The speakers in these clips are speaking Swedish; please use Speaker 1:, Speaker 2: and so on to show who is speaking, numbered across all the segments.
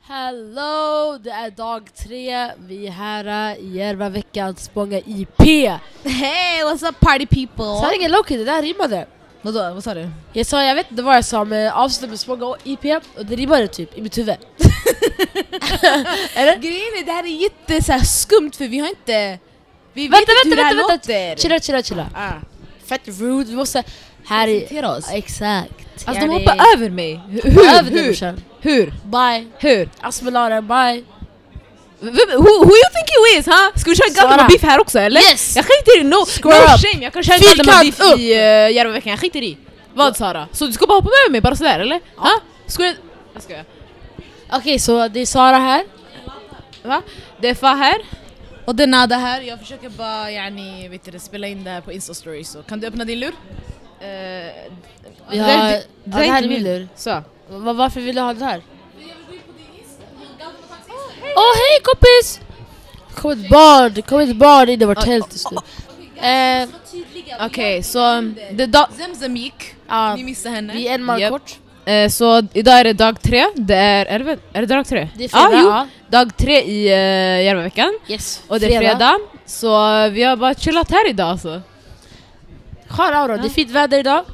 Speaker 1: Hello! Det är dag tre. Vi är här eh, i Järvaveckans Spånga IP.
Speaker 2: Hey, what's up party people?
Speaker 1: Sanningen Loki, det där rimmade.
Speaker 2: Vadå, vad sa du?
Speaker 1: Jag sa, jag vet inte vad jag sa, men avsluta med Spånga och IP och det rimmade typ i mitt huvud.
Speaker 2: Eller? Grejen är det här är jätte så här, skumt för vi har inte... Vi
Speaker 1: Vänta,
Speaker 2: vet inte
Speaker 1: vänta,
Speaker 2: hur det här
Speaker 1: vänta, vänta.
Speaker 2: låter.
Speaker 1: Chilla, chilla, chilla.
Speaker 2: Ah,
Speaker 1: Fett rude, vi måste... Här i...
Speaker 2: presentera oss.
Speaker 1: Exakt.
Speaker 2: Alltså de
Speaker 1: Ja, det-
Speaker 2: hoppar över mig. Hur?
Speaker 1: Över dig,
Speaker 2: Hur?
Speaker 1: brorsan.
Speaker 2: Hur?
Speaker 1: Bye.
Speaker 2: Hur?
Speaker 1: Asmelaren, bye.
Speaker 2: Vem- Who, who you think you is? Huh? Ska vi köra
Speaker 1: Svara.
Speaker 2: Galdemar beef här också eller?
Speaker 1: Yes!
Speaker 2: Jag skiter i no, no
Speaker 1: Square up.
Speaker 2: shame, jag kan köra
Speaker 1: Fyrkant
Speaker 2: Galdemar beef
Speaker 1: upp.
Speaker 2: i uh, Järvaveckan, jag skiter i. Vad Sara? Så du ska bara hoppa över mig bara sådär eller? Ja. Ha? Ska jag... Jag skojar.
Speaker 1: Okej, så det är Sara här.
Speaker 2: Va? Det är Fa här. Och det är Nada här. Jag försöker bara yani, vet du, det, spela in det här på Insta stories. Så. Kan du öppna din lur? Eh,
Speaker 1: Vi har- ja, det här är min lur.
Speaker 2: Så.
Speaker 1: Va- varför vill du ha den här? Åh hej kompis! Kom ett barn, det kom ett barn in i vårt tält just nu. Eh,
Speaker 2: Okej, så det är dag... Zemzem gick.
Speaker 1: ja,
Speaker 2: Ni missade henne.
Speaker 1: vi är en man
Speaker 2: Japp.
Speaker 1: kort.
Speaker 2: Eh, så idag är det dag tre. Det är, är, det, väl- är det dag tre?
Speaker 1: Det är fredag.
Speaker 2: Ah, jo.
Speaker 1: ja.
Speaker 2: Dag tre i uh, Järvaveckan.
Speaker 1: Yes.
Speaker 2: Och det är fredag. Så eh, vi har bara chillat här idag alltså.
Speaker 1: Skön aura, det är fint väder idag.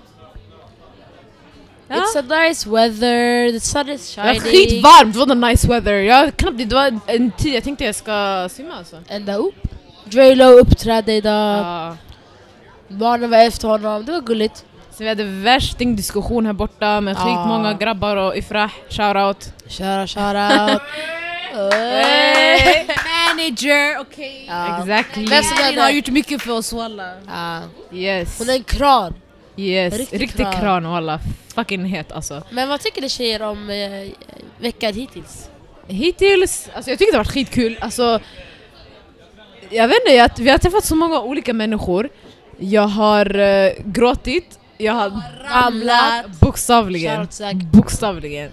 Speaker 2: Ja.
Speaker 1: It's a nice weather, the sun is
Speaker 2: Det var
Speaker 1: shining.
Speaker 2: skitvarmt, vad en nice weather. Jag knappt, det var en tid jag tänkte jag ska simma alltså.
Speaker 1: Ända upp. Drelo uppträdde idag,
Speaker 2: Ja.
Speaker 1: barnen var efter honom, det var gulligt.
Speaker 2: Så vi hade värsting diskussion här borta med
Speaker 1: Ja.
Speaker 2: skitmånga grabbar och Ifrah, shoutout.
Speaker 1: Köra, köra. out.
Speaker 2: Hey.
Speaker 3: Manager, okej.
Speaker 1: Ja.
Speaker 2: Exactly.
Speaker 1: Men så-
Speaker 3: Karin har gjort mycket för oss walla.
Speaker 1: Ja.
Speaker 2: Yes.
Speaker 1: Hon är en kran.
Speaker 2: Yes.
Speaker 1: Riktig
Speaker 2: Riktig,
Speaker 1: kran.
Speaker 2: kran, walla. Fucking het alltså.
Speaker 1: Men vad tycker ni tjejer om eh, veckan hittills?
Speaker 2: Hittills, alltså jag tycker det har varit skitkul. Alltså, jag vet inte, jag, vi har träffat så många olika människor. Jag har eh, gråtit, jag har
Speaker 1: Ramlat.
Speaker 2: bokstavligen.
Speaker 1: Shoutout Zack.
Speaker 2: Bokstavligen.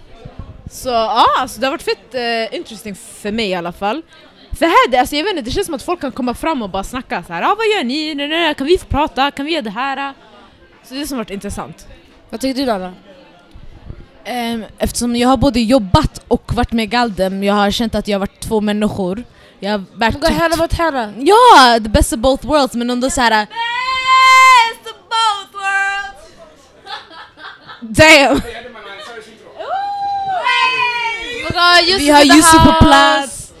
Speaker 2: Så ja, alltså, det har varit fett eh, interesting för mig i alla fall. För här, det, alltså, jag vet inte, det känns som att folk kan komma fram och bara snacka så här. Ah, vad gör ni? Nej, nej, nej, kan vi få prata? Kan vi göra det här? Så det är det som har varit intressant.
Speaker 1: Vad tycker du Nanna?
Speaker 3: Ehm, eftersom jag har både jobbat och varit med Galdem, jag har känt att jag har varit två människor. Jag har
Speaker 1: Hon går
Speaker 3: varit...
Speaker 1: henne mot henne.
Speaker 3: Ja, the best of both worlds men ändå äh, såhär... Best of both worlds!
Speaker 2: Damn!
Speaker 3: Vi har Yusuf på plats.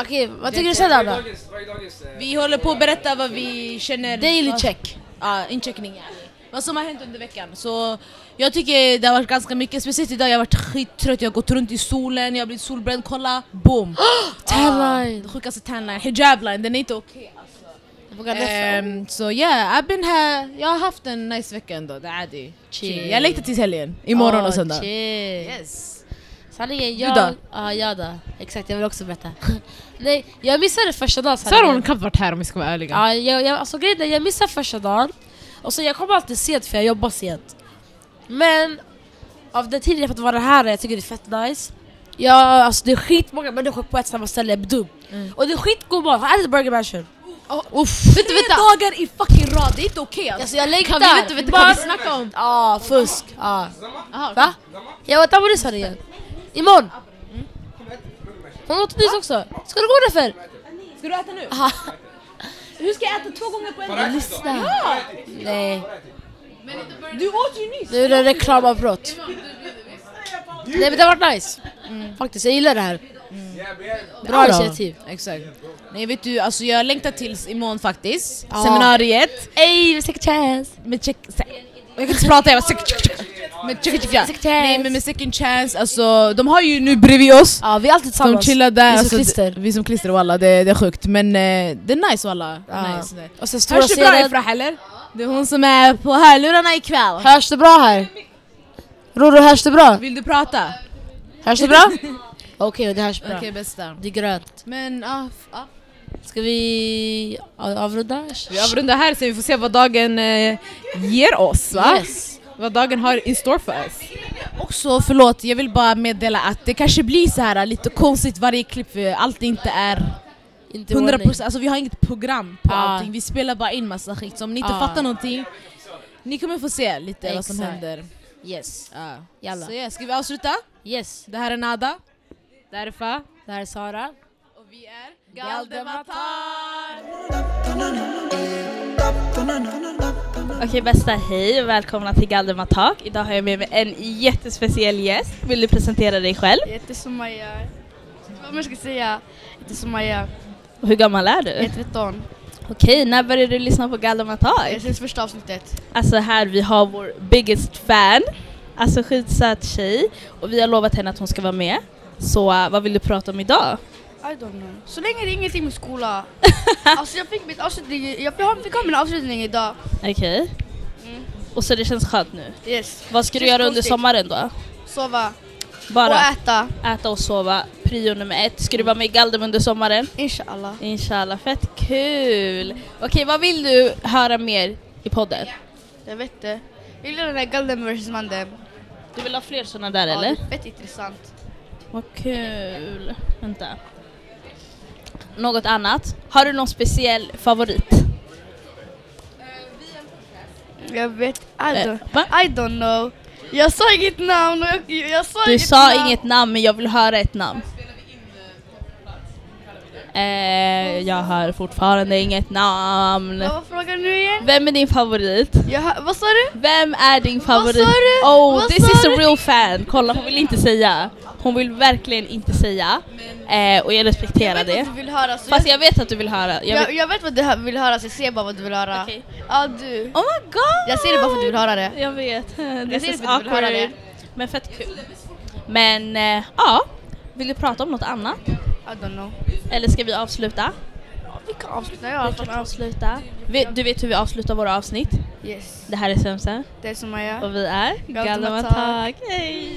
Speaker 1: Okej, vad tycker du sen Nanna?
Speaker 3: Vi håller på att berätta vad vi känner.
Speaker 1: Daily
Speaker 3: vad-
Speaker 1: check.
Speaker 3: Ja, incheckning ja. Vad som har hänt under veckan. Så jag tycker det har varit ganska mycket, speciellt idag jag har varit skittrött, jag har gått runt i solen, jag har blivit solbränd, kolla! Boom!
Speaker 1: Tanline.
Speaker 3: Den sjukaste tanline, hijabline, den är inte okej
Speaker 1: Ah,
Speaker 3: Ehm, Så yeah, I've been here. Eh, jag har haft en nice vecka ändå, det är det.
Speaker 1: Chill.
Speaker 3: Jag längtar tills helgen, imorgon
Speaker 1: Ah,
Speaker 3: och söndag.
Speaker 1: chill.
Speaker 3: Yes.
Speaker 1: Sanningen,
Speaker 3: Du
Speaker 1: jag...
Speaker 3: då?
Speaker 1: Ja, jag då. Exakt, jag vill också berätta. Nej, jag missade första dagen
Speaker 2: Så har hon knappt varit här om vi ska vara ärliga.
Speaker 1: Ja, jag, jag, alltså grejen är, jag missar första dagen. Och så jag kommer alltid sent för jag jobbar sent. Men av den tiden jag fått vara här, jag tycker det är fett nice. Ja, alltså det är skitmånga människor på ett samma ställe, jag blir dum.
Speaker 2: Mm.
Speaker 1: Och det är skitgod mat, har du ätit Burger Mansion?
Speaker 3: Tre dagar i fucking rad, det är inte okej alltså.
Speaker 1: Alltså jag längtar!
Speaker 2: Kan vi inte veta vad vi
Speaker 1: Mat-
Speaker 2: snackar om?
Speaker 1: Ja, fusk. Ja.
Speaker 2: Aha,
Speaker 1: Va? Jag åt abonnissar igen. Imorgon.
Speaker 2: Mm.
Speaker 1: Hon åt nyss också. Ska du gå där för?
Speaker 3: Ska du äta nu?
Speaker 1: Ja.
Speaker 3: Hur ska jag äta två gånger på en dag?
Speaker 1: Lyssna. Nej.
Speaker 3: Du åt ju nyss!
Speaker 1: Nu är det reklamavbrott. Nej men det har varit nice. Mm. Faktiskt, jag gillar det här. Mm. Bra
Speaker 3: Ja då.
Speaker 1: initiativ.
Speaker 3: Exakt. Nej vet du, alltså jag längtar tills imorgon faktiskt.
Speaker 1: Ja.
Speaker 3: Seminariet.
Speaker 1: Ey, vi snackar chance!
Speaker 3: Med check... se- Jag kan inte prata, jag bara check... Med check... check-
Speaker 1: Second
Speaker 3: check.
Speaker 1: chance.
Speaker 3: Nej men med second chance, alltså de har ju nu bredvid oss.
Speaker 1: Ja, vi är alltid
Speaker 3: De
Speaker 1: tillsammans.
Speaker 3: chillar där.
Speaker 1: Vi är som
Speaker 3: alltså,
Speaker 1: klister.
Speaker 3: d- Vi som klister walla, det, det är sjukt. Men eh, det är nice walla. Det
Speaker 1: Ja.
Speaker 3: är nice.
Speaker 1: Och sen stora
Speaker 3: Hörs det bra
Speaker 1: scenen.
Speaker 3: ifrån heller? Det är hon som är på hörlurarna ikväll.
Speaker 1: Hörs det bra här? Roro, hörs det bra?
Speaker 3: Vill du prata?
Speaker 1: Hörs det bra? Okej, det hörs bra.
Speaker 3: Okej bästa.
Speaker 1: Det är grönt.
Speaker 3: Men ja, f- ja.
Speaker 1: Ska vi a- avrunda?
Speaker 2: Vi avrundar här så vi får se vad dagen eh, ger oss va?
Speaker 1: Yes.
Speaker 2: Vad dagen har in store för oss.
Speaker 3: Också förlåt, jag vill bara meddela att det kanske blir så här lite konstigt varje klipp för allt inte är
Speaker 1: Inte i ordning.
Speaker 3: 100% alltså vi har inget program på
Speaker 1: Ja.
Speaker 3: allting, vi spelar bara in massa skit så om ni inte
Speaker 1: Ja.
Speaker 3: fattar någonting ni kommer få se lite vad som
Speaker 1: Exakt.
Speaker 3: händer.
Speaker 1: Yes.
Speaker 3: Ja.
Speaker 1: Jalla.
Speaker 3: Så ja, ska vi avsluta?
Speaker 1: Yes.
Speaker 3: Det här är Nada.
Speaker 2: Därför.
Speaker 1: Det här är Sara.
Speaker 3: Och vi är
Speaker 1: Galdematar!
Speaker 4: Okej bästa, hej och välkomna till Galdematak. Idag har jag med mig en jättespeciell gäst. Vill du presentera dig själv?
Speaker 5: Jag heter Somaya. Jag vet inte Vad man ska säga. Jag heter Somaya.
Speaker 4: Och hur gammal är
Speaker 5: Jag är
Speaker 4: du?
Speaker 5: 13.
Speaker 4: Okej, när började du lyssna på Galdematak?
Speaker 5: Jag syns första avsnittet.
Speaker 4: Alltså här vi har vår biggest fan, alltså skitsöt tjej. Och vi har lovat henne att hon ska vara med. Så eh, vad vill du prata om idag?
Speaker 5: I don't know. Så länge det är ingenting med skola. alltså jag fick mitt avslutning. Jag fick- fick ha min avslutning idag.
Speaker 4: Okej. Och så det känns skönt nu.
Speaker 5: Yes.
Speaker 4: Vad ska du
Speaker 5: Mm. Känns
Speaker 4: göra under
Speaker 5: konstigt.
Speaker 4: sommaren då?
Speaker 5: Sova.
Speaker 4: Bara
Speaker 5: Och äta.
Speaker 4: äta och sova, prio nummer ett. Ska du vara med i Galdem under sommaren?
Speaker 5: Inshallah.
Speaker 4: Inshallah, fett kul! Okej, vad vill du höra mer i podden?
Speaker 5: Jag vet inte. Jag gillar den här Galden vs Mandem.
Speaker 4: Du vill ha fler sådana där
Speaker 5: Ja,
Speaker 4: eller?
Speaker 5: det är fett intressant.
Speaker 4: Vad kul! Vänta. Något annat? Har du någon speciell favorit?
Speaker 5: Jag vet. I don't,
Speaker 4: Eh, va?
Speaker 5: I don't know. Jag sa inget namn och jag, jag sa
Speaker 4: Du
Speaker 5: inget
Speaker 4: sa
Speaker 5: namn.
Speaker 4: inget namn men jag vill höra ett namn. Eh, jag har fortfarande inget namn.
Speaker 5: Vad var frågan nu igen?
Speaker 4: Vem är din favorit?
Speaker 5: Jag, hör- vad sa du?
Speaker 4: Vem är din favorit?
Speaker 5: sa du?
Speaker 4: Oh,
Speaker 5: Vad
Speaker 4: this
Speaker 5: sa
Speaker 4: is a
Speaker 5: du?
Speaker 4: real fan. Kolla, hon vill inte säga. Hon vill verkligen inte säga. Eh, och jag respekterar
Speaker 5: Jag vet
Speaker 4: det.
Speaker 5: vad du vill höra. Så jag
Speaker 4: Fast jag vet att du vill höra. Jag
Speaker 5: Jag,
Speaker 4: vet.
Speaker 5: jag vet vad du hö- vill höra så jag ser bara vad du vill höra.
Speaker 4: Okej.
Speaker 5: Ja du.
Speaker 4: Oh my god!
Speaker 5: Jag ser det bara för att du vill höra det.
Speaker 4: Jag vet. This
Speaker 5: ser
Speaker 4: is
Speaker 5: det för att du vill höra
Speaker 4: awkward.
Speaker 5: det.
Speaker 4: Men fett kul. Men eh, ja, vill du prata om något annat?
Speaker 5: I don't know.
Speaker 4: Eller ska vi avsluta?
Speaker 5: Vi kan avsluta. Jag har
Speaker 4: Vi kan
Speaker 5: fan avsluta.
Speaker 4: avsluta. Vi- Du vet hur vi avslutar våra avsnitt.
Speaker 5: Yes.
Speaker 4: Det här är Sömsen
Speaker 5: Det är som jag gör.
Speaker 4: och vi är
Speaker 5: Galdematak.
Speaker 4: Galdematak. Hej!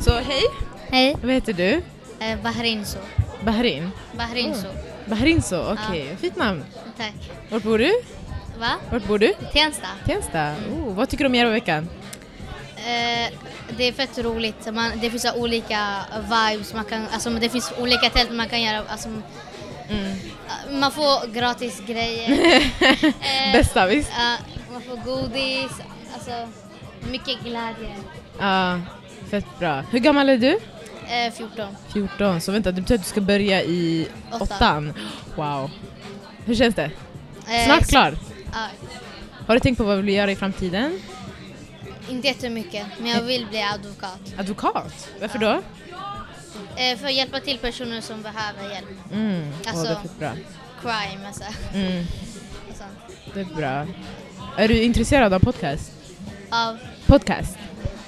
Speaker 4: Så hej!
Speaker 6: Hej,
Speaker 2: Vad heter du?
Speaker 6: eh, Bahrinso.
Speaker 2: Bahrin?
Speaker 6: Bahrinso,
Speaker 2: Bahrinso, Oh, okej. Fint namn.
Speaker 6: tack.
Speaker 2: Vart bor du?
Speaker 6: Va?
Speaker 2: Vart bor du?
Speaker 6: Tensta. Mm.
Speaker 2: Tensta. Oh, vad tycker du om Järvaveckan?
Speaker 6: Eh, det är fett roligt. Man, det finns så olika vibes. Man kan, alltså, det finns olika tält man kan göra. Alltså,
Speaker 2: Mm.
Speaker 6: Man får gratis grejer. Eh,
Speaker 2: Bästa, visst?
Speaker 6: ja, man får godis. Alltså, mycket glädje.
Speaker 2: Ja, fett bra. Hur gammal är du?
Speaker 6: Eh, 14.
Speaker 2: 14. Så vänta, det betyder att du ska börja i
Speaker 6: Åttan.
Speaker 2: åttan. Wow. Hur känns det?
Speaker 6: Eh,
Speaker 2: Snart klar.
Speaker 6: ja,
Speaker 2: Har du tänkt på vad du vill göra i framtiden?
Speaker 6: inte jättemycket, men jag vill bli advokat.
Speaker 2: Advokat? Varför då?
Speaker 6: Eh, för att hjälpa till personer som behöver hjälp.
Speaker 2: Mm. åh,
Speaker 6: Alltså-
Speaker 2: det är fett bra.
Speaker 6: Crime, alltså.
Speaker 2: Mm.
Speaker 6: Och sånt.
Speaker 2: Det är bra. Är du intresserad av podcast?
Speaker 6: Av
Speaker 2: Podcast?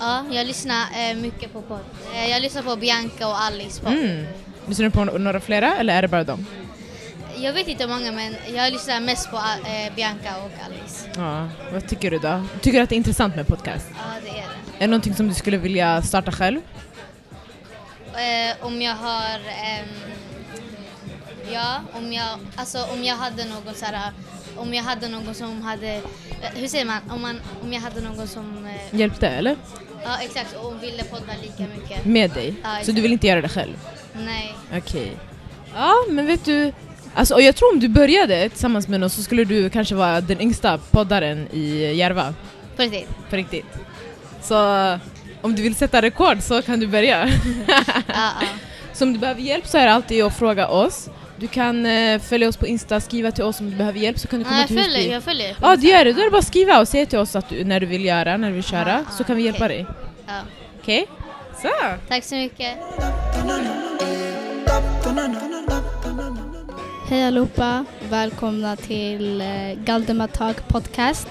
Speaker 6: Ja, jag lyssnar eh, mycket på podd. Eh, jag lyssnar på Bianca och Alice podd.
Speaker 2: Mm. Lyssnar du på no- några flera eller är det bara dem?
Speaker 6: Jag vet inte hur många men jag lyssnar mest på eh, Bianca och Alice.
Speaker 2: Ja. Vad tycker du då? Tycker du att det är intressant med podcast?
Speaker 6: Ja, det är det.
Speaker 2: Är det någonting som du skulle vilja starta själv?
Speaker 6: Eh, om jag har... ehm, ja, om jag, alltså, om jag hade någon så här, eh, Om jag hade någon som hade... Eh, hur säger man? Om, man, om jag hade någon som... Eh,
Speaker 2: Hjälpte eller?
Speaker 6: ja, exakt. Och hon ville podda lika mycket.
Speaker 2: Med dig?
Speaker 6: Ja,
Speaker 2: Så du
Speaker 6: exakt.
Speaker 2: vill inte göra det själv?
Speaker 6: Nej.
Speaker 2: Okej. Ja, men vet du... Alltså, och jag tror om du började tillsammans med någon så skulle du kanske vara den yngsta poddaren i Järva.
Speaker 6: På riktigt.
Speaker 2: På riktigt. Så om du vill sätta rekord så kan du börja.
Speaker 6: Ja, ja.
Speaker 2: så om du behöver hjälp så är det alltid att fråga oss. Du kan eh, följa oss på Insta, skriva till oss om du behöver hjälp så kan du komma
Speaker 6: Ja, jag
Speaker 2: till
Speaker 6: följer.
Speaker 2: Husby.
Speaker 6: Jag följer.
Speaker 2: Ja, det gör det. Då är det bara att skriva och säga till oss att du, när du vill göra, när du vill köra,
Speaker 7: Ah,
Speaker 6: Ja, ja,
Speaker 2: så kan vi hjälpa
Speaker 6: okej.
Speaker 2: dig.
Speaker 6: Ja.
Speaker 2: Okej? Så!
Speaker 6: Tack så mycket. Hej allihopa.
Speaker 7: Välkomna till eh, Galdematag podcast.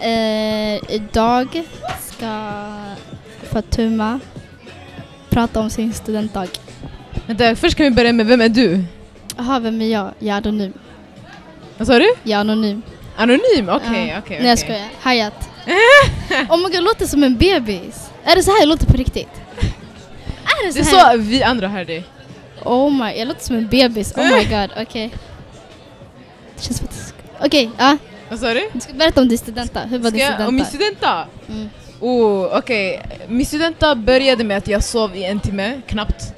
Speaker 7: Eh, idag ska Fatuma prata om sin studentdag.
Speaker 2: Vänta, först kan vi börja med vem är du?
Speaker 7: Jaha, vem är jag? Jag är anonym.
Speaker 2: Vad sa du?
Speaker 7: Jag är anonym.
Speaker 2: Anonym? Okej, okej.
Speaker 7: Ja.
Speaker 2: okej.
Speaker 7: Nej jag skojar. Hayat. oh my god, jag låter som en bebis. Är det så här jag låter på riktigt? Är det så
Speaker 2: Det är
Speaker 7: här?
Speaker 2: så vi andra hör dig.
Speaker 7: Oh my, jag låter som en bebis. Oh my god, okej. Det känns faktiskt... Okej, ja.
Speaker 2: Vad sa du?
Speaker 7: Du ska berätta om din studenta. Hur var
Speaker 2: Ska
Speaker 7: din
Speaker 2: jag, om min
Speaker 7: studenta?
Speaker 2: studenta?
Speaker 7: Mm.
Speaker 2: Oh, okej. Min studenta började med att jag sov i en timme, knappt.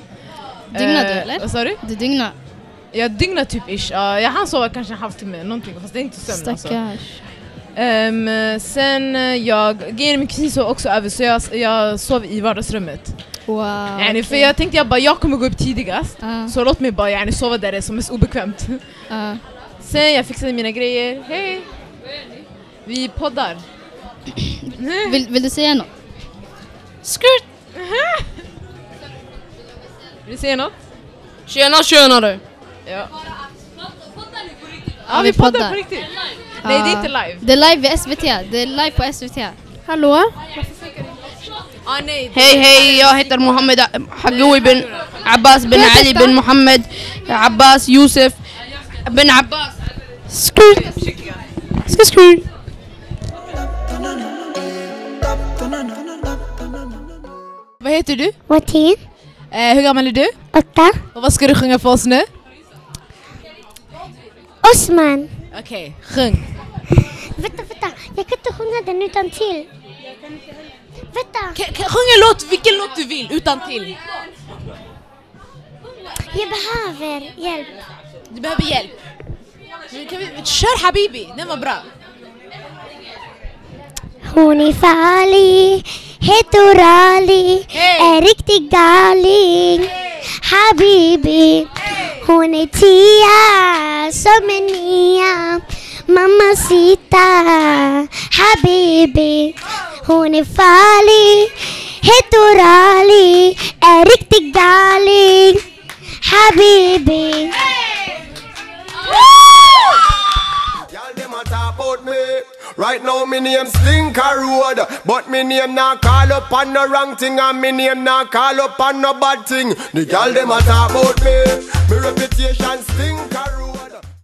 Speaker 2: Eh,
Speaker 7: Dygnade du, eller?
Speaker 2: Vad sa du?
Speaker 7: Du dygnade?
Speaker 2: Jag dygnade typ ish. Ja, jag hann sova kanske en halvtimme, någonting. Fast det är inte sömn alltså.
Speaker 7: Stackars.
Speaker 2: Ehm, sen eh, jag, grejen är min kusin sov också över så jag, jag sov i vardagsrummet.
Speaker 7: Wow.
Speaker 2: Yani, för jag tänkte jag bara, jag kommer gå upp tidigast.
Speaker 7: Ah,
Speaker 2: Så låt mig bara yani, sova där det är som mest obekvämt.
Speaker 7: ah.
Speaker 2: Sen jag fixade mina grejer, hej! Vi poddar.
Speaker 7: Vill, vill du säga något?
Speaker 2: Vill du säga något?
Speaker 1: Tjena tjena du!
Speaker 2: Ja. Ja vi poddar på riktigt. Nej det är inte live.
Speaker 7: Det är live i SVT. Det är live på SVT. Hallå?
Speaker 2: Ah, nej.
Speaker 5: Hej hej, jag heter Mohammed Hagoui uh, bin Abbas bin Ali bin Mohammed Abbas Youssef bin Abbas.
Speaker 2: Vad heter du?
Speaker 8: Martin,
Speaker 5: Uh,
Speaker 2: Eh, hur gammal är
Speaker 5: er
Speaker 2: du?
Speaker 8: åtta.
Speaker 2: Och vad ska du sjunga för oss nu?
Speaker 8: Osman.
Speaker 2: Okej, sjung.
Speaker 8: Vänta, vänta. Jag kan inte sjunga den utan till. Vänta,
Speaker 3: K- sjung en låt, vilken låt du vill, utan till.
Speaker 8: jag behöver hjälp.
Speaker 3: Du behöver hjälp. Men Kan vi,
Speaker 2: Kör Habibi, den var bra.
Speaker 8: Hon är farlig, heter Ali, är riktig darling. Habibi, hon är tia som en nia. Mamma sita, Habibi, hon är farlig, heter Ali, är riktig darling. Habibi.
Speaker 9: Y'all dem a talk about me. Right now me name Slinker Road, but me name not call up on no wrong thing, and me name not call up on no bad thing. The y'all dem a talk about me. Me reputation Slinker Road.